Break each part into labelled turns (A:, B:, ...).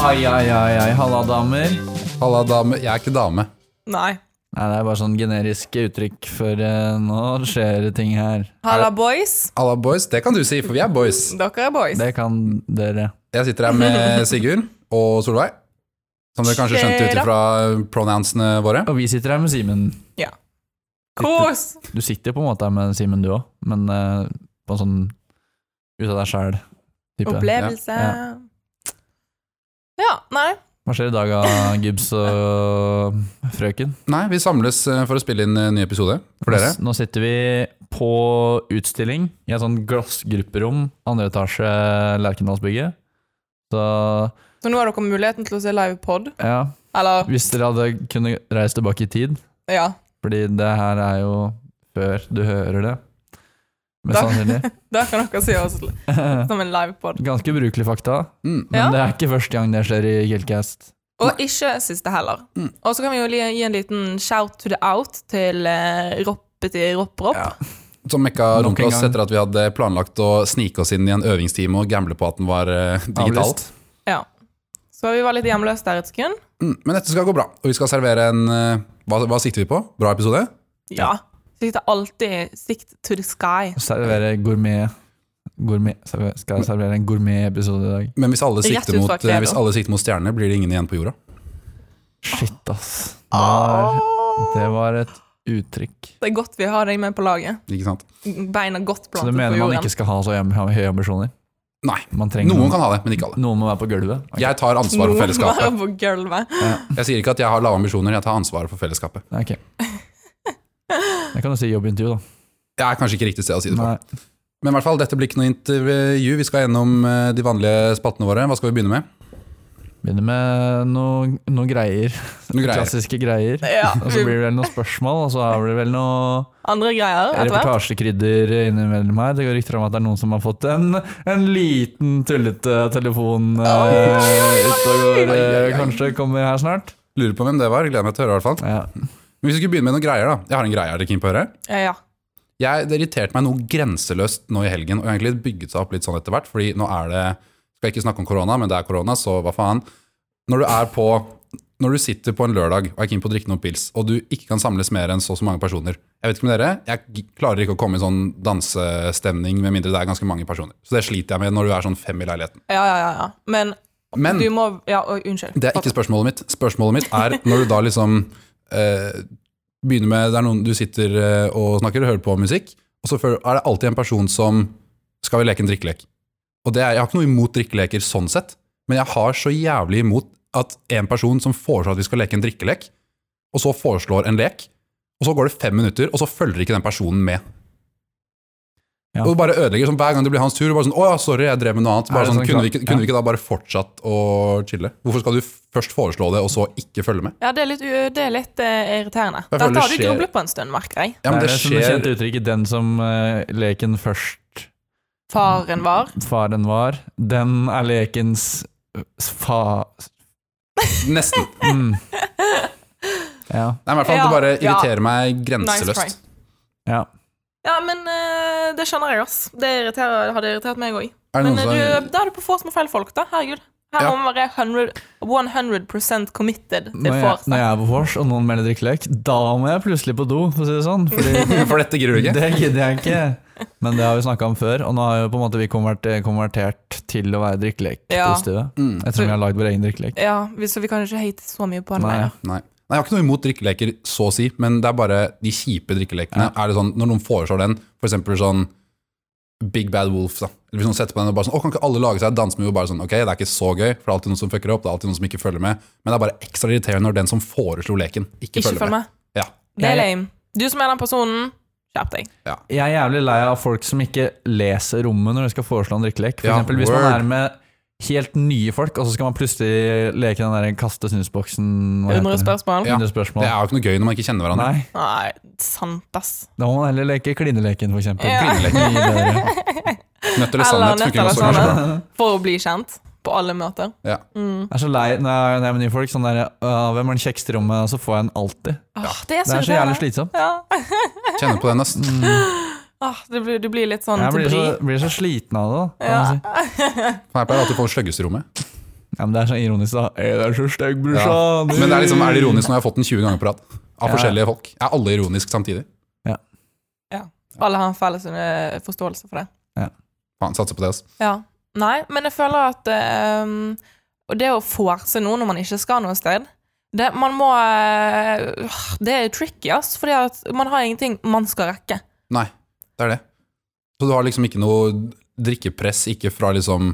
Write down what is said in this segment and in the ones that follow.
A: Ai, ai, ai, ai. Halla, damer.
B: Halla, dame. Jeg er ikke dame.
C: Nei.
A: Nei, det er bare sånn generisk uttrykk for eh, nå skjer det ting her.
C: Halla, boys.
B: Halla, boys. Det kan du si, for vi er boys.
C: Dere er boys.
A: Det kan dere.
B: Jeg sitter her med Sigurd og Solveig. Som dere kanskje skjønte ut ifra pronounsene våre.
A: Og vi sitter her med Simen.
C: Kos!
A: Du sitter på en måte her med Simen, du òg, men eh, på en sånn ut av deg sjæl. Hva
C: Opplevelse.
A: Ja.
C: Ja. nei.
A: skjer i dag, ah, Gibbs og frøken?
B: Nei, vi samles eh, for å spille inn en ny episode for dere.
A: Nå sitter vi på utstilling i et sånn glassgrupperom, andre etasje Lerkendalsbygget. Så
C: Så nå har dere muligheten til å se live pod.
A: ja,
C: Eller,
A: hvis dere hadde kunnet reise tilbake i tid
C: ja.
A: Fordi det her er jo før du hører det. Mest
C: Da-
A: sannsynlig.
C: Der kan dere se oss l- som en live pod.
A: Ganske brukelig fakta,
B: Mm.
A: men
C: Ja.
A: det er ikke første gang det skjer i Gilcast.
C: Og ikke siste heller.
B: Mm.
C: Og så kan vi jo li- gi en liten shout to the out til eh, Roppe til Ropp-Ropp.
B: Ja. Som mekka
A: Nok
B: rundt
A: en
B: oss
A: gang.
B: etter at vi hadde planlagt å snike oss inn i en øvingstime og gamble på at den var eh, digital.
A: Avlyst.
C: Så vi var litt hjemløse der et sekund.
B: Mm. Men dette skal gå bra, og vi skal servere en eh, hva, hva sikter vi på? Bra episode?
C: Ja. Sikter alltid sikt to the sky.
A: Servere gourmet, gourmet server- Skal jeg servere en gourmetepisode i dag?
B: Men hvis alle
C: Rett
B: sikter
C: ut
B: mot,
C: fra
B: eh, hvis
C: kvelden.
B: alle sikter mot stjernene, blir det ingen igjen på jorda.
A: Shit, ass. Det var, Ah, det var et uttrykk.
C: Det er godt vi har deg med på laget.
B: Ikke sant?
C: Beina godt
A: Så du
C: plantet på
A: mener man
C: jorden.
A: ikke skal ha så hjem- høye ambisjoner?
B: Nei.
A: Man trenger
B: Noen
A: noen,
B: kan ha det, men ikke alle.
A: noen må være på gulvet? Ok.
B: Jeg tar ansvaret for fellesskapet.
C: Noen var på gulvet.
B: Jeg sier ikke at jeg har lave ambisjoner, jeg tar ansvaret for fellesskapet.
A: Nei, ok. Det kan du si i jobbintervju, da.
B: Jeg er kanskje ikke riktig sted å si det på.
A: Nei.
B: Men i hvert fall, dette blir ikke noe intervju. Vi skal gjennom eh, de vanlige spaltene våre. Hva skal vi begynne med?
A: Begynner med noen noe greier.
B: Noen greier.
A: Klassiske greier.
C: Ja,
A: Og så blir det vel noen spørsmål, og så er det vel noe
C: Andre greier etter hvert.
A: reportasjekrydder innimellom her. Det går rykter om at det er noen som har fått en, en liten tullete telefon eh, ut og går. eh,
B: Ai, ai, ai.
A: Kanskje kommer her snart.
B: Lurer på hvem det var. Gleder meg til å høre. i hvert fall.
A: Ja.
B: Men hvis vi skulle begynne med noen greier, da. Jeg har en greie, er dere keen på å høre?
C: Ja, ja.
B: Jeg, det irriterte meg noe grenseløst nå i helgen, og egentlig bygget seg opp litt sånn etter hvert, fordi nå er det Skal ikke snakke om korona, men det er korona, så hva faen. Når du er på når du sitter på en lørdag og er keen på å drikke noen pils, og du ikke kan samles mer enn så og så mange personer Jeg vet ikke med dere, jeg g- klarer ikke å komme i sånn dansestemning med mindre det er ganske mange personer. Så det sliter jeg med når du er sånn fem i leiligheten.
C: ja, ja, ja, ja. Men,
B: Men
C: du må Ja, oi, unnskyld.
B: det er ikke spørsmålet mitt. Spørsmålet mitt er når du da liksom eh, begynner med Det er noen du sitter eh, og snakker og hører på musikk, og så føler- er det alltid en person som Skal vi leke en drikkelek? Og det er, Jeg har ikke noe imot drikkeleker sånn sett, men jeg har så jævlig imot at en person som foreslår at vi skal leke en drikkelek, og så foreslår en lek, og så går det fem minutter, og så følger ikke den personen med.
A: Ja.
B: Og det bare ødelegger sånn, Hver gang det blir hans tur, bare sånn 'Å ja, sorry, jeg drev med noe annet'.
A: Er
B: Bare
A: det
B: sånn,
A: sånn
B: kunne, vi
A: klart?
B: ikke, kunne
A: Ja.
B: vi ikke da bare fortsatt å chille? Hvorfor skal du f- først foreslå det, og så ikke følge med?
C: Ja, det er litt, u- det er litt eh, irriterende.
B: Jeg føler
C: Dette har du
B: det skjer-
C: grublet på en stund, merker jeg.
B: Ja, men
A: det er
B: det
A: det som det
B: skjer
A: kjente uttrykket 'den som eh, leken først
C: Faren var.
A: faren var', den er lekens fa...
B: nesten. Nei,
A: Mm. Ja.
B: men i hvert fall,
C: Ja,
B: Det bare
C: ja.
B: irriterer meg
C: Nice try.
B: grenseløst.
A: ja.
C: Ja, men eh, det skjønner jeg, ass. Det irriterer, hadde irritert meg òg.
B: Er det
C: Men
B: noen
C: eh,
B: som
C: du, da er du på vors med feil folk, da. Herregud. Her
B: altså, Ja.
C: må man være 100, 100 committed til
A: Når jeg, når
C: vorset.
A: jeg er på vors og noen melder drikkelek, da må jeg plutselig på do, for å si det sånn. Fordi
B: For dette gidder du ikke?
A: Det gidder jeg ikke. Men det har vi snakka om før, og nå har jo på en måte vi konvert- konvertert til å være drikkelek-positive.
B: Mm.
A: Ettersom vi har lagd vår egen drikkelek.
C: Ja, vi- så vi kan ikke hate så mye på den.
A: Nei.
C: Nei.
B: Nei. Nei, Jeg har ikke noe imot drikkeleker, så å si, men det er bare de kjipe drikkelekene. Er det sånn, Når noen foreslår den, f.eks. sånn Big Bad Wolf da. Eller Hvis noen setter på den og bare sånn, å, kan ikke alle lage seg et dansemove? Bare sånn, ok, det er ikke så gøy, for det er alltid noen som fucker opp. det er alltid noen som ikke følger med. Men det er bare ekstra irriterende når den som foreslo leken, ikke,
C: Ikke
B: følger
C: følg
B: med.
C: med.
B: Ja.
C: Det er
A: Jeg-
C: lame. Du som er den personen, skjerp deg.
A: Jeg er jævlig lei av folk som ikke leser rommet når de skal foreslå en drikkelek. For
B: Ja,
A: eksempel hvis man
B: word.
A: er med helt nye folk, og så skal man plutselig leke den der kaste snusboksen hva heter
C: 100
A: det?
C: spørsmål.
B: Ja.
A: 100
B: Det
A: spørsmål.
B: er jo ikke noe gøy når man ikke kjenner hverandre.
A: Nei,
C: Nei, sant, ass.
A: da må man heller leke klineleken, for eksempel.
C: Ja.
A: Mye bedre.
B: Nødt eller
C: Eller
B: sannhet
C: nødt
B: funker
C: eller
B: også kanskje bra.
C: sannhet. For å bli kjent på alle Mm. møter.
B: Ja.
A: Jeg er så lei når jeg når jeg er med nye folk. Sånn der, «Åh, 'Hvem er den kjekkeste i rommet?' Og så får jeg en alltid.
C: Åh, det er
A: Det
C: så,
A: er så jævlig
C: irriterende.
A: slitsomt.
C: Ja.
B: Kjenner på den, ass.
C: Åh, det blir, du blir litt sånn
A: Jeg
C: til
A: blir
C: bry.
A: så, blir så sliten av det. da, kan man si.
B: For Her pleier alltid folk sløgges i rommet.
A: Ja, men det er sånn ironisk, da. Ei, det er så stygg,
B: Ja.
A: brorsan!
B: Men det er liksom, er det ironisk når jeg har fått den 20 ganger på rad? Av
A: Ja.
B: forskjellige folk. Er alle ironisk samtidig?
C: Alle har en felles eh, forståelse for det.
B: Faen, satser på det, altså.
C: Ja. Nei, men jeg føler at ehm, Og det å forse noe når man ikke skal noe sted det, man må, eh, øh, det er tricky, ass, fordi at man har ingenting man skal rekke.
B: Nei, det er det. Så du har liksom ikke noe drikkepress, ikke fra liksom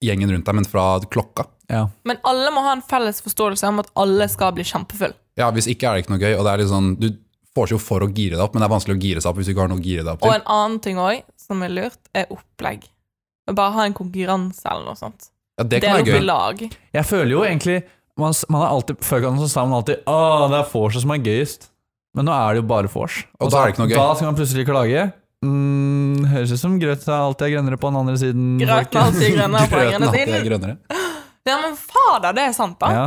B: gjengen rundt deg, men fra klokka.
A: Ja.
C: Men alle må ha en felles forståelse om at alle skal bli kjempefull.
B: Ja, hvis ikke er det ikke noe gøy, og det er litt sånn, du får seg jo for å gire deg opp, men det er vanskelig å gire seg opp hvis du ikke har noe å gire deg opp
C: Og
B: til.
C: en annen ting òg som er lurt, er opplegg. Bare ha en konkurranse eller noe sånt.
B: Ja, det
C: Det
B: kan
C: er noe
B: være gøy.
C: lag.
A: Jeg føler jo egentlig man, man har alltid, Før kan man så sa man alltid Åh, det er vorset som er gøyest. Men nå er det jo bare vors.
B: Og da
A: så-
B: er det ikke noe gøy.
A: Da skal man plutselig klage. Mm, høres ut som grøt er alltid grønnere på den andre siden.
C: Grøten er
A: folkens.
C: alltid grønnere på den
B: Grøten
C: grønne
B: alltid er
C: siden.
B: grønnere.
C: Ja, men fader, det er sant, da.
A: Ja.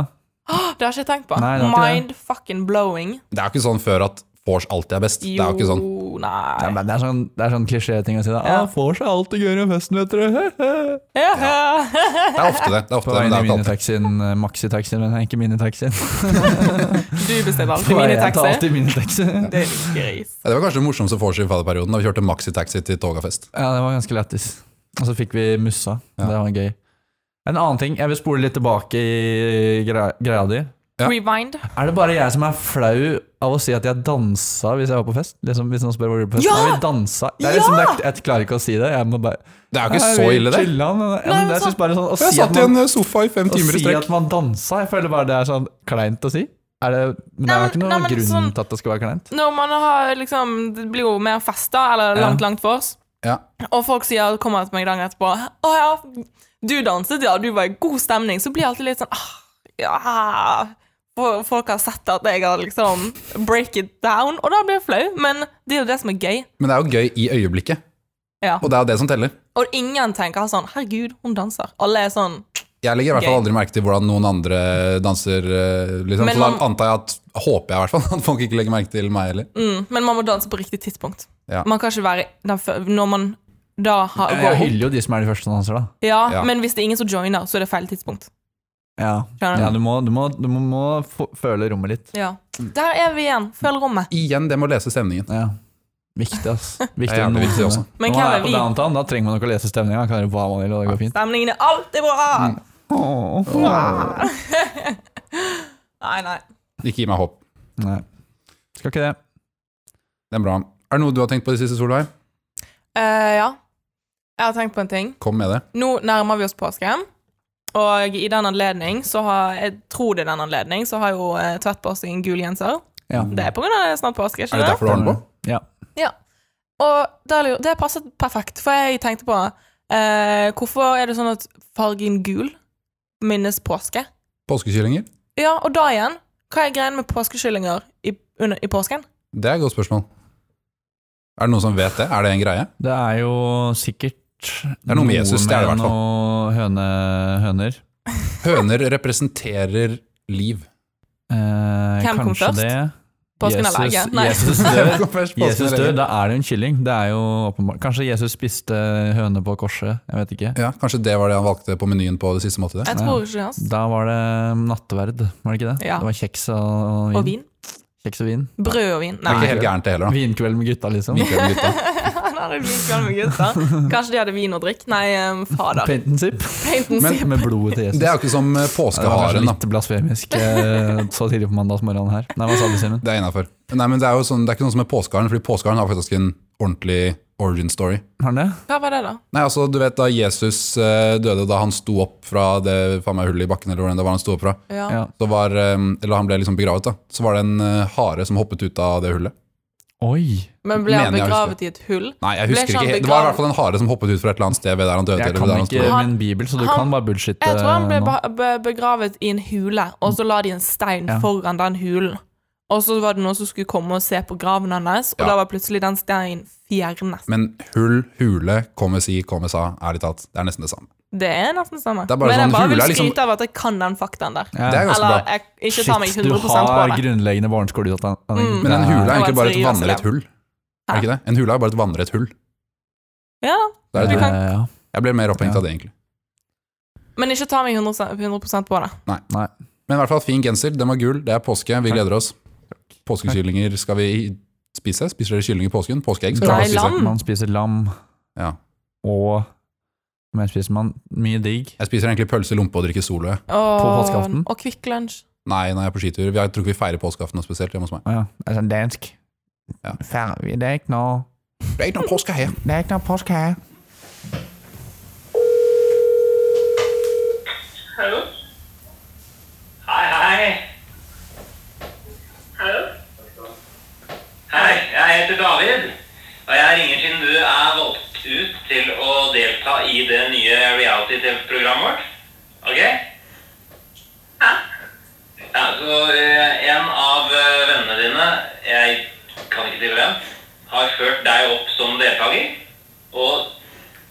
C: Åh, Det har jeg ikke tenkt på.
A: Nei, det er ikke det.
C: Mind fucking blowing.
B: Det er jo ikke sånn før at vors alltid er best. Det er jo ikke sånn.
A: Ja,
C: nei.
A: men det er sånn, det er sånn klisjé-ting å si. da
C: Ja.
A: Å, vors er alltid gøyere enn festen, vet dere.
C: Ja.
B: Det er ofte det. det, er
A: På
B: ofte det,
A: vei inn
B: men
A: i
B: det er jo ikke alltid.
A: minitaxien, eh, maxitaxien, men ikke minitaxien.
C: Du bestiller alltid
A: På vei- Jeg tar
C: minitaxi.
A: alltid minitaxi.
C: Det er litt gris.
B: Ja, Det var kanskje det morsomste vorset i fadderperioden, da vi kjørte maxitaxi til Togafest.
A: Ja, det var ganske lættis. Og så fikk vi mussa.
B: Ja.
A: Det var gøy. En annen ting, jeg vil spole litt tilbake i gre greia di.
B: Ja.
C: Rewind.
A: Er det bare jeg som er flau av å si at jeg dansa hvis jeg var på fest? Liksom, hvis noen spør hvor du var på fest,
C: Ja!
A: ja! vi dansa. Det er liksom, det er, jeg klarer ikke å si det. Jeg må bare
B: Det er jo ikke
A: Nei,
B: så
A: vi
B: ille, det.
A: chilla, men, ja,
C: Nei,
A: men
C: men
A: jeg synes bare sånn, Å
B: Jeg
A: si, at
B: satt i
A: man,
B: en eh, sofa i fem
A: å
B: timer i
A: si
B: strekk.
A: at man dansa, jeg føler bare det er sånn kleint å si. Er det, men det er
C: Nei, men-
A: jo ikke
C: nei,
A: noen
C: men
A: grunn
C: sånn-
A: til at det skal være kleint.
C: Når man har liksom Det blir jo mer fest, da, eller langt, langt for oss.
B: Ja.
C: Og folk sier, kommer til meg dagen etterpå Å ja, du danset, ja, du var i god stemning. Så blir jeg alltid litt sånn ah, Ja. For- Folk har sett at jeg har liksom break it down, og da blir jeg flau. Men det er jo det som er gøy.
B: Men det er jo gøy i øyeblikket,
C: Ja.
B: og det er jo det som teller.
C: Og ingen tenker sånn 'herregud, hun danser'. Alle er sånn
B: Jeg legger i hvert
C: Gøy.
B: fall aldri merke til hvordan noen andre danser. eh, Liksom.
C: Men
B: Så da
C: man-
B: antar jeg at, håper jeg i hvert fall at folk ikke legger merke til meg heller.
C: Mm, men man må danse på riktig tidspunkt.
B: Ja.
C: Man kan ikke være den fø- når man da har
A: Jeg,
C: går opp.
A: hyller jo de som er de første som danser, da.
C: Ja,
B: Ja.
C: Men hvis det er ingen som joiner, så er det feil tidspunkt.
A: Ja,
C: Skjønner du?
A: ja du må, du må, du må, må få- føle rommet litt.
C: Ja. Der er vi igjen. Følg rommet.
B: Igjen det med å lese stemningen.
A: Ja. Viktig, ass.
B: Det
A: Viktig,
B: er jævlig viktig også.
C: Men
A: Når
C: hvem
A: man
C: er
A: er på
C: vi?
A: downtown, da trenger man ikke å lese stemninga. Kan gjøre hva man vil, og det går fint.
C: Stemningen er alltid bra!
B: Mm.
A: Åh.
C: Nei, nei.
B: Ikke gi meg håp.
A: Nei. Skal ikke det.
B: Det er bra. Er det noe du har tenkt på det siste, Solveig?
C: Eh, ja. Jeg har tenkt på en ting.
B: Kom med det.
C: Nå nærmer vi oss påske. Og i den anledning, så har jeg tror det er den anledning, så har jo eh, Tvedt på seg en gul genser.
A: Ja.
C: Det er på grunn av det er snart påske, ikke
B: Er det derfor du har den på?
A: Ja.
C: Og der, lurer- det passet perfekt, for jeg tenkte på eh, Hvorfor er det sånn at fargen gul minnes påske?
B: Påskekyllinger?
C: Ja, og da igjen, hva er greien med påskekyllinger i, under, i påsken?
B: Det er et godt spørsmål. Er det noen som vet det? Er det en greie?
A: Det er jo sikkert
B: er noe med Jesus, det er det i hvert fall.
A: Noen høne, høner.
B: Høner representerer liv.
A: Eh,
C: Hvem kom
A: kanskje
C: først?
A: det.
C: Påsken eller
A: Jesus,
C: egget? Nei.
A: Jesus
B: Det
A: dør.
B: kom først, påsken
A: Jesus
B: eller
A: dør,
B: egget.
A: da er det jo en kylling. Det er jo åpenbart. Kanskje Jesus spiste høne på korset, jeg vet ikke.
B: Ja, kanskje det var det han valgte på menyen på det siste måltidet?
C: Jeg tror ikke det. ass.
A: Da var det nattverd, var det ikke det?
C: Ja.
A: Det var kjeks og
C: Og
A: vin.
C: vin.
A: Kjeks og vin.
C: Brød og vin.
B: Det er ikke
C: Nei.
B: helt gærent det heller, da.
A: Vinkveld med gutta, liksom.
B: Likevel, gutta.
C: Han hadde vinkveld med gutter. Kanskje de hadde vin og drikk? Nei, um, fader.
A: Paint and sip.
C: Paint and sip.
A: Med blodet til Jesus.
B: Det er jo ikke som
A: Ja,
B: eh,
A: det var kanskje
B: påskeharen, da.
A: litt blasfemisk eh, så tidlig på mandagsmorgenen her. Nei, hva sa du, Simen?
B: Det er innafor. Nei, men det er jo sånn, det er ikke sånn som med påskeharen, fordi påskeharen har faktisk en ordentlig origin story.
A: Har han det?
C: Hva var det, da?
B: Nei, altså, du vet da Jesus eh, døde, da han sto opp fra det faen meg hullet i bakken, eller hvor enn det var han sto opp fra,
C: Ja.
A: Ja.
B: så var, eh, eller han ble liksom begravet, da, så var det en eh, hare som hoppet ut av det hullet.
A: Oi!
C: Men ble han
B: Mener jeg husker.
C: begravet i et hull?
B: Nei, jeg
C: Ble
B: husker
C: ikke han
B: ikke. helt. Det var i
C: begravet?
B: hvert fall en hare som hoppet ut fra et eller annet sted ved der han døde.
A: Jeg
B: eller
A: kan
B: ved der han
A: ikke
B: sto.
A: min bibel, så du
C: Han-
A: kan bare bullshitte
C: Jeg tror han ble
A: nå.
C: ba- Eh, be- begravet i en hule, og så la de en stein
A: Ja.
C: foran den hulen. Og så var det noen som skulle komme og se på graven hans, og
B: Ja.
C: da var plutselig den steinen fjernet.
B: Men hull, hule, komme si, komme sa, ærlig talt. Det er nesten det samme.
C: Det er nesten det samme.
B: Det er bare
C: Men jeg
B: sånn,
C: bare
B: hule
C: vil
B: er liksom-
C: skryte av at jeg kan den faktaen der.
A: Ja.
B: Det er ganske
C: Eller
B: bra.
C: jeg, ikke ta meg
A: Shit, du
C: 100 på
A: har
C: det.
A: grunnleggende barneskoleutdanning.
C: Mm.
B: Men en hule er
C: Det var
B: egentlig
C: en
B: bare et
C: teori, altså,
B: vannrett
C: det.
B: hull. Er det ikke det? En hule er bare et vannrett hull.
C: Ja,
B: Det er
C: Du
B: et hull.
C: kan-
A: Eh, ja.
B: Jeg ble mer opphengt
A: Ja.
B: av det, egentlig.
C: Men ikke ta meg 100, 100 på det.
A: Nei.
B: Men i hvert fall fin genser. Den var gul. Det er påske. Vi gleder oss. Påskekyllinger skal vi spise. Spiser dere kylling i påsken? Påskeegg skal
C: Nei,
B: vi også spise.
C: lam.
A: Man spiser lam,
B: Ja.
A: og men spiser man mye digg.
B: Jeg spiser egentlig pølse, lompe og drikker solo. jeg.
C: Og,
A: påskeaften?
C: Og Kvikk Lunsj.
B: Nei, når jeg er på skitur. Vi har- Jeg tror ikke vi feirer påskeaften noe spesielt hjemme hos meg.
A: Å ja. Altså dansk.
B: Ja.
A: Ferdig. Det er ikke noe
B: Det er ikke noe påske her.
A: Det er ikke noe påske her.
D: Hallo? Hei, hei. Hallo? Hei, jeg heter David, og jeg ringer siden du er valgt ut til å delta i det nye reality-TV-programmet vårt. Ok? Ja. Ja, så eh, en av eh, vennene dine, jeg kan ikke si hvem, har ført deg opp som deltaker, og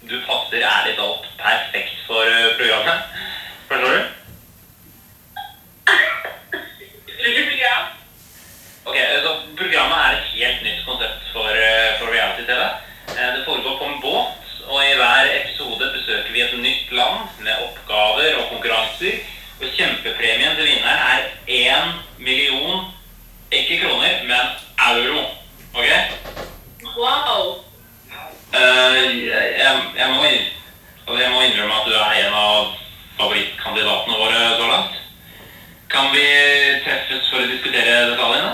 D: du passer ærlig talt perfekt for eh, programmet. Forstår du? Ok, eh, så Programmet er et helt nytt konsept for, eh, for reality-TV. Eh, Det foregår på en båt, og i hver episode besøker vi et nytt land med oppgaver og konkurranser. Og kjempepremien til vinneren er én million, ikke kroner, men euro. Ok? Wow! Eh, jeg, jeg- jeg, må, inn- altså, jeg må innrømme at du er en av favorittkandidatene våre så langt. Kan vi treffes for å diskutere detaljene?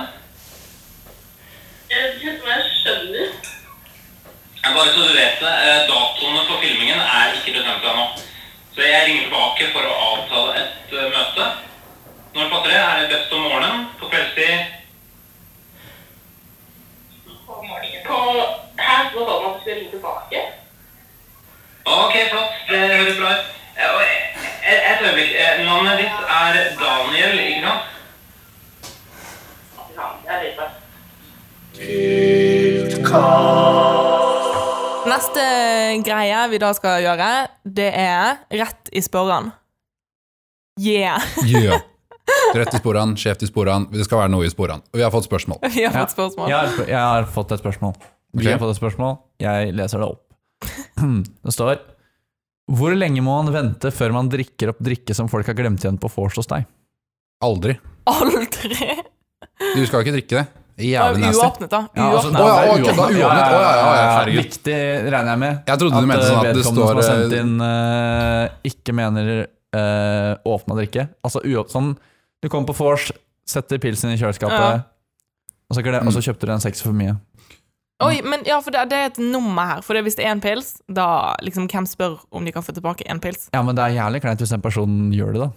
E: Jeg vet ikke om jeg skjønner.
D: Eh, Bare så du vet det, eh, datoene for filmingen er ikke bestemt ennå. Så jeg ringer tilbake for å avtale et eh, møte. Når det passer det, er det best om morgenen, på kveldstid
E: På morgenen. På her så sa man at du skulle ringe tilbake.
D: Ok, flott. Det høres bra ut. Eh, og, eh, Et øyeblikk. Eh, Navnet ditt er Daniel, ikke sant?
E: Ja, jeg vet det.
C: Neste greie vi da skal gjøre, det er rett i spørren. Yeah!
B: Yeah. Rett i sporene, skjevt i sporene. Det skal være noe i sporene. Og vi har fått spørsmål.
C: Vi har
A: Ja.
C: fått spørsmål.
A: Jeg har, sp- jeg har fått et spørsmål. Vi
B: Ok.
A: har fått et spørsmål. Jeg leser det opp. Det står Hvor lenge må man vente før man drikker opp drikke som folk har glemt igjen på vors hos deg?
B: Aldri.
C: Aldri!
B: Du skal ikke drikke det. Det er Jævlig nasty.
C: Uåpnet, da.
A: Ja, altså,
C: Uåpnet.
A: nei,
B: Å ja,
A: det er
B: ok, da,
A: uåpnet.
B: uåpnet. Å ja, ja, ja, herregud.
A: Viktig, regner jeg med.
B: Jeg trodde du mente sånn at det
A: vedkommende som har
B: står, eh,
A: sendt inn, eh, ikke mener uh, åpna drikke. Altså uåpnet sånn Du kommer på vors, setter pilsen i kjøleskapet,
C: Ja.
A: og, så, glem- og
B: Mm.
A: så kjøpte du en sekser for mye.
C: Oi, men ja, for det, det er et nummer her. For det, hvis det er en pils, da liksom Hvem spør om de kan få tilbake en pils?
A: Ja, men det er jævlig kleint hvis den personen gjør det, da.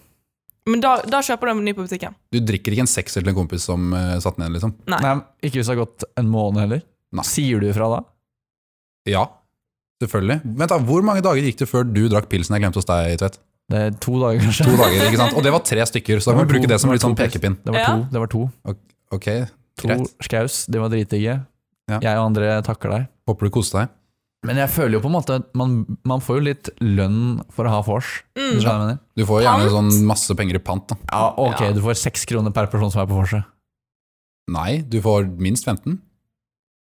C: Men da, da kjøper du en ny på butikken.
B: Du drikker ikke en sekser til en kompis som eh, satt den igjen, liksom?
C: Nei.
A: Nei, men ikke hvis det har gått en måned heller.
B: Nei.
A: Sier du ifra da?
B: Ja, selvfølgelig. Vent da, Hvor mange dager gikk det før du drakk pilsen jeg glemte hos deg, Tvedt?
A: Det er to dager, kanskje.
B: To dager, ikke sant? Og det var tre stykker, så da kan vi
A: var to-
B: bruke det som
A: var
B: litt sånn
A: to
B: pekepinn.
A: Det var
C: Ja.
A: to. Det var to.
B: Ok,
A: to
B: greit.
A: skaus. De var dritdigge.
B: Ja.
A: Jeg og andre takker deg.
B: Håper du koste deg.
A: Men jeg føler jo på en måte at man, man får jo litt lønn for å ha vors. Skjønner
C: Mm.
A: du hva jeg mener?
B: Du får jo gjerne
C: Pant?
B: sånn masse penger i pant, da.
A: Ja, ok,
C: Ja.
A: du får seks kroner per person som er på vorset.
B: Nei, du får minst 15.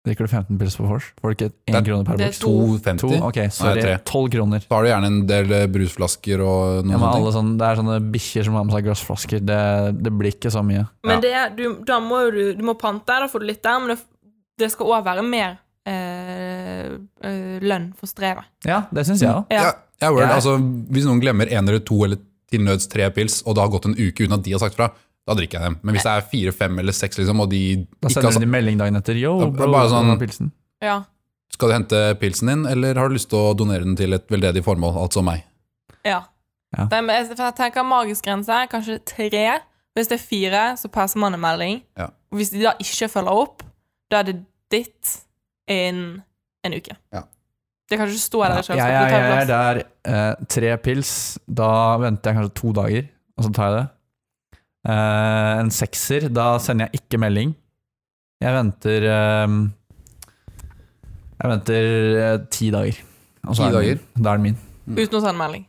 A: Drikker du 15 pils på vors, får du ikke
B: Det er-
A: én krone per
C: det er
A: bord?
C: To.
B: 2,50.
A: To? Ok, sorry.
B: tre.
A: Tolv kroner.
B: Da har du gjerne en del eh, brusflasker
A: Ja,
B: og noen
A: men alle
B: sånne
A: sånne,
B: ting.
A: det er sånne bikkjer som har med seg glassflasker. Det, det blir ikke så mye.
C: Men det, er- du, da må jo du, du må pante, da får du litt der, men det, det skal òg være mer eh, eh, lønn for strevet.
A: Ja, det syns
B: Mm.
A: jeg òg.
C: Ja.
B: Ja, jeg er worried.
A: Ja.
B: Altså, hvis noen glemmer en eller to eller til nøds tre pils, og det har gått en uke uten at de har sagt fra, da drikker jeg dem. Men hvis det er fire, fem eller seks, liksom, og de
A: Da
B: ikke har
A: sender
B: sagt
A: de melding dagen etter. Yo,
B: Ja, det er
A: bro,
B: bare sånn-
A: sånn, pilsen.
C: Ja.
B: Skal du hente pilsen din, eller har du lyst til å donere den til et veldedig formål, altså meg?
C: ja.
A: Ja.
C: Det er, men jeg- for jeg tenker magisk grense er kanskje tre. Hvis det er fire, så passer man en melding.
B: Ja.
C: Og Hvis de da ikke følger opp, da er det ditt innen en uke.
B: Ja.
C: Det kan ikke stå der
A: Ja,
C: i
A: jeg, jeg,
C: kjøleskapet. det tar
A: jeg er
C: plass.
A: der eh, tre pils. Da venter jeg kanskje to dager, og så tar jeg det. Eh, en sekser, da sender jeg ikke melding. Jeg venter eh, Jeg venter eh, ti dager. og så
B: Ti
A: er den
B: dager?
A: min. Da er den min.
C: Uten å sende melding.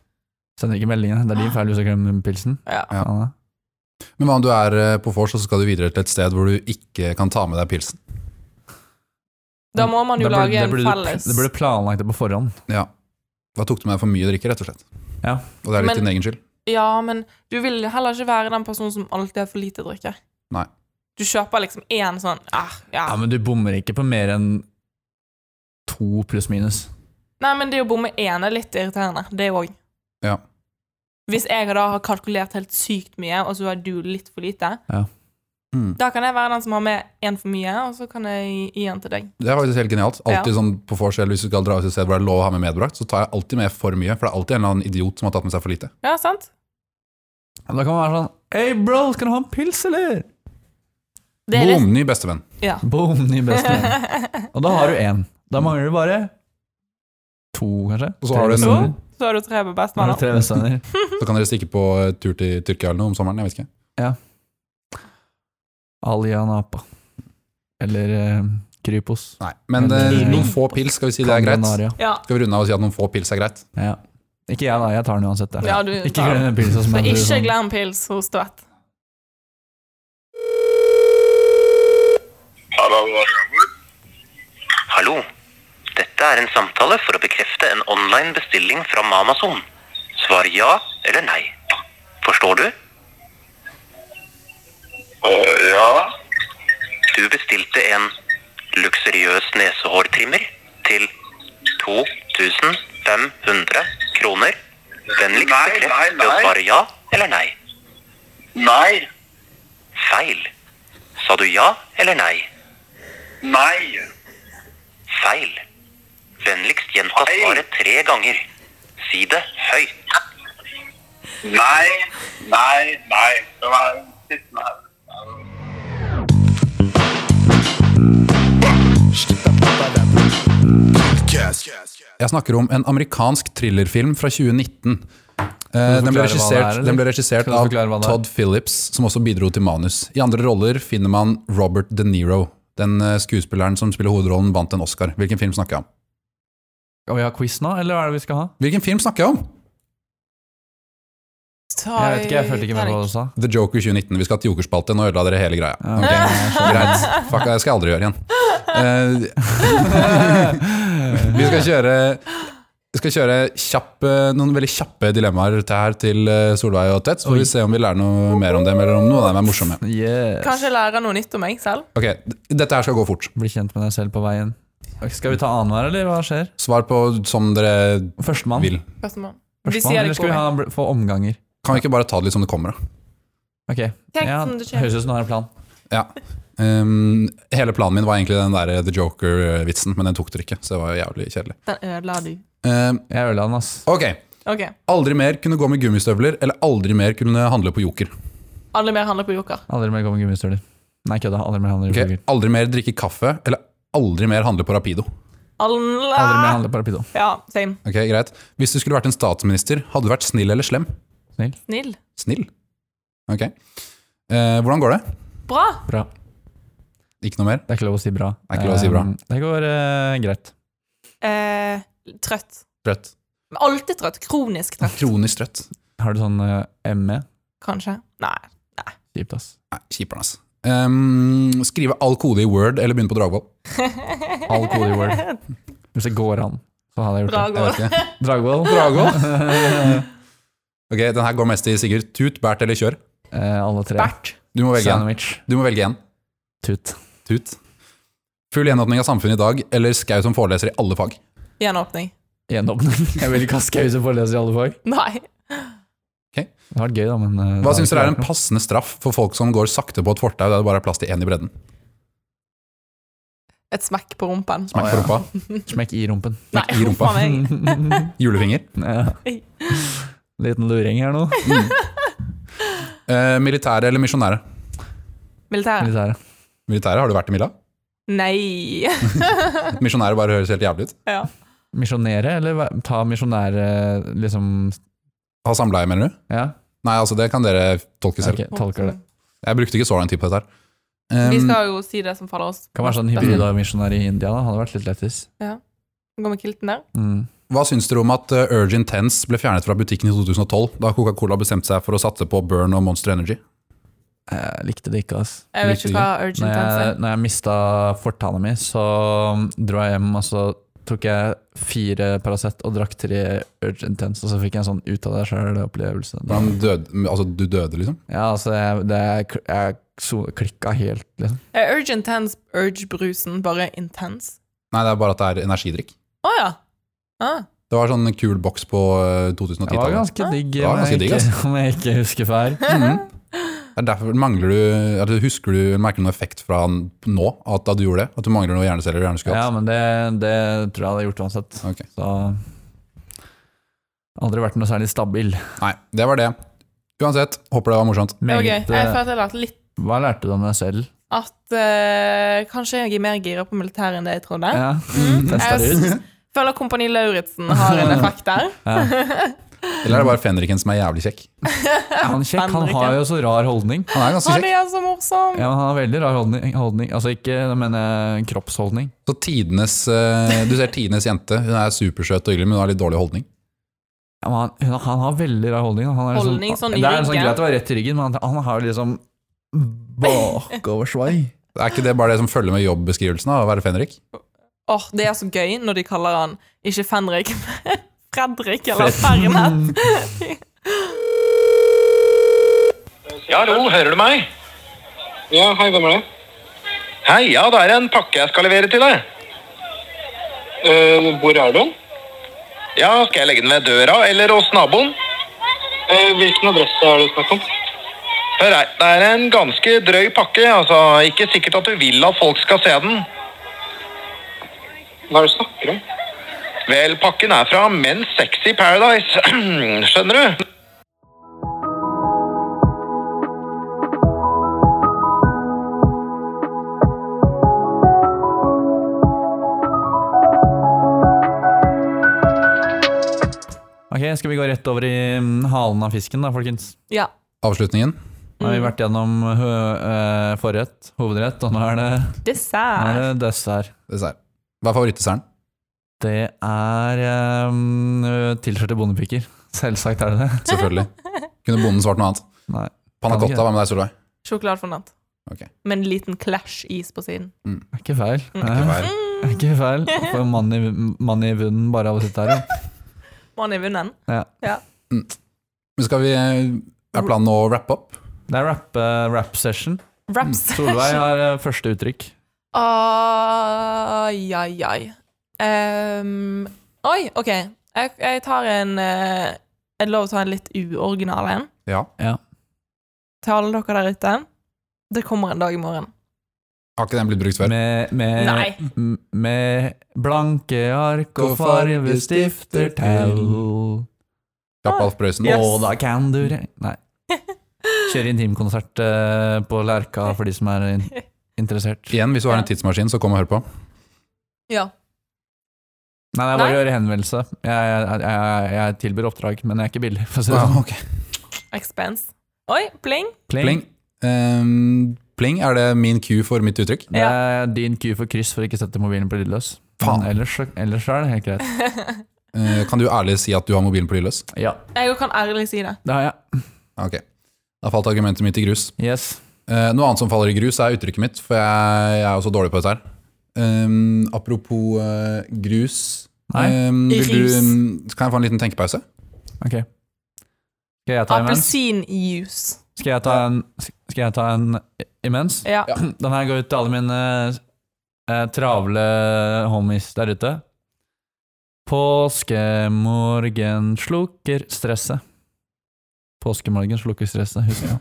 A: Sender ikke meldingen. Det er din feil hvis jeg glemmer pilsen.
C: Ja.
B: Ja.
A: Faen, da.
B: Men hva om du er eh, på vors, og så skal du videre til et sted hvor du ikke kan ta med deg pilsen?
C: Da må man jo
A: Da burde-
C: lage
A: da
C: en
A: burde du-
C: felles
A: Det burde planlagt det på forhånd.
B: Ja. Da tok du med deg for mye drikke, rett og slett.
A: Ja.
B: Og det er litt
C: Men-
B: din egen skyld.
C: Ja, men du vil heller ikke være den personen som alltid har for lite å drikke.
B: Nei.
C: Du kjøper liksom én sånn ah, ja.
A: ja, men du bommer ikke på mer enn to pluss minus.
C: Nei, men det å bomme én er litt irriterende. Det òg.
B: Ja.
C: Hvis jeg da har kalkulert helt sykt mye, og så har du litt for lite,
A: Ja.
B: Mm.
C: da kan jeg være den som har med én for mye, og så kan jeg gi en til deg.
B: Det er faktisk helt genialt. Alltid
C: Ja.
B: sånn på forskjell Hvis du skal dra ut et sted hvor det er lov å ha med medbrakt, så tar jeg alltid med for mye. For det er alltid en eller annen idiot som har tatt med seg for lite.
C: Ja, sant?
A: Ja, men Da kan man være sånn Hey bro, skal du ha en pils, eller?
C: Det er
B: Boom!
C: litt,
B: Ny bestevenn.
C: ja.
A: Boom, ny bestevenn. Og da har du én.
C: Mm.
A: Da mangler du bare to, kanskje.
B: Og så har
A: Tre
B: du en-
C: Så,
A: bestevenner.
C: så har du
A: Da
C: tre
A: har du
C: bestevenner.
A: tre bestevenner.
B: Så kan dere stikke på eh, tur til Tyrkia eller noe om sommeren. Jeg vet ikke.
A: Alia Napa. Eller eh, Krypos.
B: Nei. Men eh,
A: Eller-
B: noen få pils skal vi si det er greit.
A: Canaria.
C: Ja.
B: Skal vi runde av og si at noen få pils er greit?
A: Ja. Ikke jeg, da. Jeg tar den uansett. Jeg.
C: Ja, du
A: ikke
C: tar den.
A: glem den pilsa som
C: Så
A: er sånn.
C: ikke glem pils hos Tvedt.
E: Hallo.
D: Hallo. Dette er en samtale for å bekrefte en online bestilling fra Amazon. Svar ja eller nei. Forstår du?
E: Eh, ja.
D: Du bestilte en luksuriøs nesehårtrimmer til 2500 kroner. Vennligst
E: Nei, nei,
D: bekreft ved å
E: nei.
D: svare ja eller nei.
E: Nei.
D: Feil. Sa du ja eller nei?
E: Nei.
D: Feil. Vennligst gjenta
E: Feil.
D: svaret tre ganger. Si det høyt.
E: Nei. Nei. Nei. Det var sittende her.
B: Jeg snakker om en amerikansk thrillerfilm fra 2019. Eh,
A: du forklare
B: den, ble
A: hva det er,
B: regissert,
A: eller?
B: den ble regissert
A: Kan du
B: av
A: forklare hva det er?
B: Todd Phillips, som også bidro til manus. I andre roller finner man Robert De Niro. Den eh, skuespilleren som spiller hovedrollen, vant en Oscar. Hvilken film snakker jeg om?
A: Skal vi ha quiz nå, eller hva er det vi skal ha?
B: Hvilken film snakker jeg om?
A: Jeg vet ikke, jeg følte ikke med på hva du sa.
B: The Joker 2019. Vi skal til jokerspalte. Nå ødela dere hele greia.
A: Ja,
B: Ok,
A: jeg skjønner.
B: Greit. Fuck, det skal jeg aldri gjøre igjen. Eh, vi skal kjøre vi skal kjøre kjapp, eh, noen veldig kjappe dilemmaer til her til eh, Solveig og Tett. Så får vi se om vi lærer noe mer om dem, eller om noen av dem er morsomme.
A: Yeah.
C: Kanskje jeg lærer noe nytt om meg selv?
B: Ok, d- Dette her skal gå fort.
A: Bli kjent med deg selv på veien. Ok, Skal vi ta annenhver, eller hva skjer?
B: Svar på som dere
A: Førstemann?
B: vil.
C: Førstemann. De
A: Førstemann
C: sier
A: eller
C: det
A: skal
C: på
A: vi ha,
C: meg.
A: bl- få omganger?
B: Kan vi ikke bare ta det litt som det kommer, da?
A: Ok.
C: Tenk
A: Ja,
C: som det skjer.
A: høres ut som du har en plan.
B: Ja. Um, hele planen min var egentlig den der eh, The Joker-vitsen, men den tok dere ikke. Så det var jo jævlig kjedelig.
C: Den ødela du.
B: Um,
A: Jeg ødela den, ass.
B: ok.
C: Ok.
B: Aldri mer kunne gå med gummistøvler, eller aldri mer kunne handle på Joker.
C: Alle mer handler på Joker.
A: Aldri mer gå med gummistøvler. Nei, kødda. Aldri mer handle i
B: Ok?
A: okay.
B: Aldri mer drikke kaffe, eller aldri mer handle på Rapido.
C: Alle
A: Aldri mer handle på Rapido.
C: Ja, same.
B: Ok, greit. Hvis du skulle vært en statsminister, hadde du vært snill eller slem?
A: Snill.
C: Snill.
B: Snill. Ok. Eh, hvordan går det?
C: Bra!
A: Bra.
B: Ikke noe mer?
A: Det er ikke lov å si bra.
B: Det er ikke lov å si bra.
A: Um, Det går eh, greit.
C: Eh, trøtt.
B: Trøtt.
C: Men alltid trøtt. Kronisk trøtt,
B: Kronisk trøtt.
A: Har du sånn eh, ME?
C: kanskje. Nei.
A: Kjipt, ass.
B: Nei, kjiperen, ass. Ehm, skrive all kode i Word eller begynne på Dragvoll?
A: All cool i word. Hvis det går an, så hadde jeg gjort
C: Bra
A: det.
C: går.
B: ikke.
A: Dragvoll.
B: Dragvoll? ok, den her går mest til Sigurd. Tut, bært eller kjør?
A: Eh, alle tre.
C: Bert.
B: Du må velge en.
A: Sandwich.
B: Du må velge en.
A: Tut.
B: Tut. Full gjenåpning av samfunnet i dag eller Skau som foreleser i alle fag?
C: Gjenåpning.
A: Gjenåpning. Jeg vil ikke ha skau som foreleser i alle fag.
C: Nei.
A: Det har vært gøy, da, men eh, det
B: Hva
A: har
B: syns
A: ikke
B: dere er
A: vært
B: en
A: noe.
B: passende straff for folk som går sakte på et fortau der det bare er plass til én i bredden?
C: Et smekk på rumpen.
B: Smakk
A: Å, ja.
B: på rumpa.
A: Smekk i rumpen.
C: Nei,
B: i rumpa.
C: faen meg.
B: Julefinger.
A: Ja. Liten luring her nå. Mm,
B: Eh, militære eller misjonære?
C: Militæret.
A: Militære.
B: Militære, har du vært i Milla?
C: Nei.
B: Misjonære bare høres helt jævlig ut.
C: ja.
A: Misjonere, eller hva- ta misjonære liksom
B: Ha samleie, mener du?
A: Ja,
B: Nei, altså det kan dere tolke selv.
A: ok, tolker det. Um,
B: Jeg brukte ikke så lang tid på dette her.
C: Vi
B: Ehm,
C: skal jo si det som faller oss.
A: Kan være sånn hybrid av misjonær i India, da. Hadde vært litt lettis.
C: Gå med kilten der.
A: Mm.
B: Hva syns dere om at eh, Urge Intense ble fjernet fra butikken i 2012, da Coca-Cola bestemte seg for å satse på Burn og Monster Energy?
A: Jeg Eh, likte det ikke, ass.
C: Jeg vet
B: Likte
C: ikke hva urgent
A: Når
C: tense er.
A: jeg, når jeg mista fortanna mi, så um, dro jeg hjem, og så tok jeg fire Paracet og drakk tre Urgent Tense, og så fikk jeg en sånn ut av deg sjøl-opplevelse.
B: Hvordan døde, altså, du døde, liksom?
A: Ja, altså, jeg, det, jeg, jeg so- klikka helt, liksom.
C: Er Urge Intense Urge-brusen bare intens?
B: Nei, det er bare at det er energidrikk.
C: Å ja. Ah.
B: Det var sånn en kul boks på eh,
A: Det var
B: 2010-tallet.
A: ganske digg,
B: var
A: om
B: ganske
A: jeg
B: digg,
A: ikke, om jeg ikke husker feil.
B: Det er derfor mangler du, eller husker du, merker du noen effekt fra n- nå, at da du gjorde det? At du mangler noen hjerneceller og hjerneskudd?
A: Ja, men det, det tror jeg hadde gjort uansett.
B: Ok.
A: Så Aldri vært noe særlig stabil.
B: Nei, det var det. Uansett, håper det var morsomt.
C: Det var gøy.
A: Meget,
C: Jeg føler
A: eh,
C: at jeg lærte litt
A: hva lærte du om deg selv?
C: at eh, kanskje jeg er mer gira på militæret enn det jeg trodde.
A: Ja, testa det ut.
C: Mm. Jeg føler Kompani Lauritzen har en effekt der.
B: Eller er det bare fenriken som er jævlig kjekk?
A: Han, er kjekk, han har jo så rar holdning.
B: Han er ganske
C: Han
B: kjekk.
C: er så morsom!
A: Ja, men han har veldig rar holdning. holdning. Altså ikke, men eh, kroppsholdning.
B: Så tidenes, eh, du ser tidenes jente. Hun er supersøt og hyggelig, men hun har litt dårlig holdning.
A: Ja, men han, hun- han har veldig rar holdning. da. Han er
C: Holdning sånn i
A: det er sånn
C: ryggen.
A: greit å være rett i ryggen, men han, han har jo liksom bakoversvei.
B: Er ikke det bare det som følger med jobbbeskrivelsen av å være fenrik?
C: Åh, Det er så gøy når de kaller han ikke Fenrik, men Fredrik eller Fernet.
D: Ja, hallo, hører du meg?
F: Ja, hei, hvem er det?
D: Hei, ja, det er en pakke jeg skal levere til deg.
F: Eh, hvor er du?
D: Ja, skal jeg legge den ved døra eller hos naboen?
F: Eh, hvilken adresse er det snakk om?
D: Hør her, det er en ganske drøy pakke, altså ikke sikkert at du vil at folk skal se den.
F: Hva er det du snakker om?
D: Vel, pakken er fra Men's Sexy Paradise, skjønner du?
A: Ok, skal vi gå rett over i mm, halen av fisken da, folkens?
C: Ja.
B: Avslutningen.
A: Nå har vi
C: Mm.
A: vært gjennom hø eh, forrett, hovedrett, og nå er det, nå er
C: Dessert.
A: det dessert.
B: Dessert. Hva er favorittdesserten?
A: Det er um, tilskjørte bondepiker. Selvsagt er det det.
B: Selvfølgelig. Kunne bonden svart noe annet?
A: Nei.
B: Panna
A: Kan ikke.
B: cotta, hva med deg, Solveig?
C: Sjokoladefondant.
B: Ok.
C: Med en liten clash-is på siden.
A: Det er Ikke feil.
C: Mm,
B: Det
A: Eh,
B: var-
A: det er Ikke feil. Får mann i, mann i bunnen bare av å sitte her.
C: Mann i vinden.
A: Ja.
C: Ja.
B: Men skal vi eh, Er planen nå å wrappe opp?
A: Det er rap, eh, rap session.
C: Raps. Mm,
A: Solveig har eh, første uttrykk.
C: Ai, ai, ai. Ehm, oi, OK. Jeg, jeg tar en eh, Er det lov å ta en litt uoriginal en?
B: Ja.
A: Ja.
C: Til alle dere der ute. Det kommer en dag i morgen.
B: Har ikke den blitt brukt før?
A: Med, med,
C: Nei.
A: m- med blanke ark og fargestifter til.
B: Japp Alf Prøysen.
C: Yes.
A: Og da kan du re... Nei. Kjøre intimkonsert eh, på Lerka for de som er in interessert. Nei,
B: Igjen, hvis du har en tidsmaskin, så kom og hør på.
C: Ja.
A: det er bare
C: Nei.
A: å gjøre henvendelse. Jeg, jeg, jeg, jeg tilbyr oppdrag, men jeg er ikke billig, for å si det
B: Ja,
A: sånn.
B: ok.
C: Expense. Oi, pling.
B: Pling. Ehm, pling, er det min cue for mitt uttrykk?
A: Det er din Q for kryss for ikke å sette mobilen på lydløs.
B: Faen.
A: Men Ellers, så- ellers så er det helt greit.
B: Eh, kan du ærlig si at du har mobilen på lydløs?
A: Ja,
C: Jeg kan ærlig si det.
A: det har jeg.
B: Ok. Da falt argumentet mitt i grus.
A: Yes.
B: Eh, noe annet som faller i grus, er uttrykket mitt, for jeg, jeg er jo så dårlig på dette her. Ehm, apropos eh, grus
A: Nei.
B: Ehm, vil
C: Grus.
B: du, ehm, Kan jeg få en liten tenkepause?
A: Ok. Skal jeg ta imens?
C: Appelsinjuice.
A: Skal jeg ta en, skal jeg ta en imens?
C: Ja.
B: Ja.
A: Den her går ut til alle mine eh, travle homies der ute. Påskemorgen slukker stresset. Påskemorgen slukker stresset, husk det.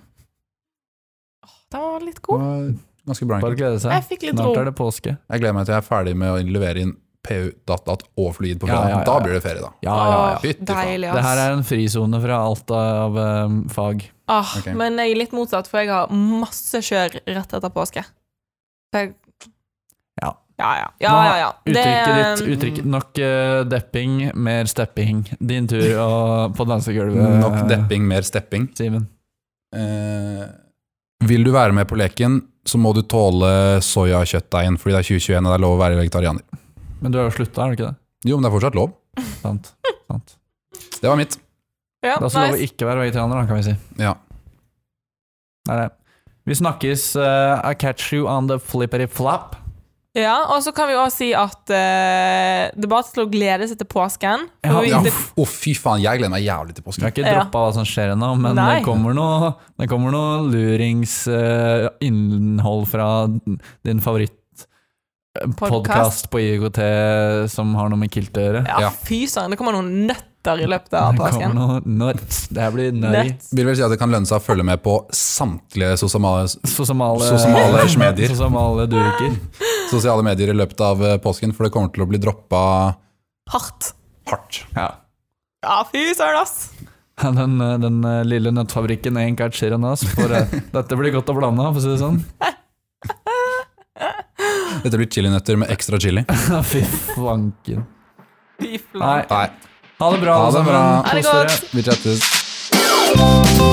C: Den var litt
B: Det
C: god.
B: var Ganske bra.
A: Bare
B: egentlig.
A: glede
C: Jeg
A: seg.
C: fikk litt ro.
A: Snart er det påske.
B: Jeg gleder meg til jeg er ferdig med å levere inn PU, DatDat og Fluid på
A: Ja, ja,
B: fredag.
A: ja,
B: Da
A: ja.
B: blir det ferie, da.
A: Ja, ja, ja.
C: Åh,
B: Fytti faen.
C: Deilig,
A: Det her
C: ass.
A: er en frisone fra alt av eh, fag.
C: Ah,
B: Ok.
C: Men jeg er litt motsatt, for jeg har masse kjør rett etter påske. Så jeg
A: Ja.
C: ja, ja. ja,
A: Nå,
C: ja, ja.
A: Uttrykket
C: Det, um,
A: ditt uttrykk, Nok eh, depping, mer stepping. Din tur å- på dansegulvet,
B: Nok depping, mer stepping.
A: Simen.
B: Eh, vil du være med på leken, så må du tåle soyakjøttdeigen, fordi det er 2021 og det er lov å være vegetarianer.
A: Men du har jo slutta, er det ikke det?
B: Jo, men det er fortsatt lov.
A: Sant. Sant.
B: Det var mitt.
C: Ja,
A: Da skal lov å
C: nice.
A: ikke være vegetarianer, da, kan vi si.
B: Ja.
A: Det er det. Vi snakkes. eh, I catch you on the flippity flop.
C: Ja, og så kan vi også si at eh, det er bare til å glede seg til påsken.
A: Ja,
C: For vi-
B: Ja,
C: det-
B: f- Å, fy faen, jeg gleder meg jævlig til
A: Vi
B: påsken.
A: har ikke
C: Ja.
A: droppa hva som skjer ennå, men
C: Nei.
A: det kommer noe, det kommer noe lurings eh, innhold fra din favoritt eh, podcast på IOGT som har noe med kilt å gjøre.
C: ja,
B: Ja.
C: fy søren, det kommer noen nøtter i løpet av
A: det kommer
C: påsken.
A: noe nuts. Det her blir nøy.
C: Nøtt.
B: Vil vel si at det kan lønne seg å følge med på samtlige sosamale-
A: Sosamale,
B: Sosamale smedier.
A: Sosamale duriker.
B: sosiale medier i løpet av eh, påsken, for det kommer til å bli droppa
C: Hardt.
B: hardt.
A: Ja.
C: Ja, fy søren, ass!
A: Den, eh, den eh, lille nøttfabrikken er egentlig et Shiranas, for eh, dette blir godt å blande, for å si det sånn.
B: Dette blir chilinøtter med ekstra chili.
A: Fy fanken.
C: Fy flate.
A: Nei.
B: Nei,
A: Ha det bra,
B: Ha det
A: alle sammen.
B: bra.
C: Ha det
A: Kos dere.
C: godt.
B: vi chattes.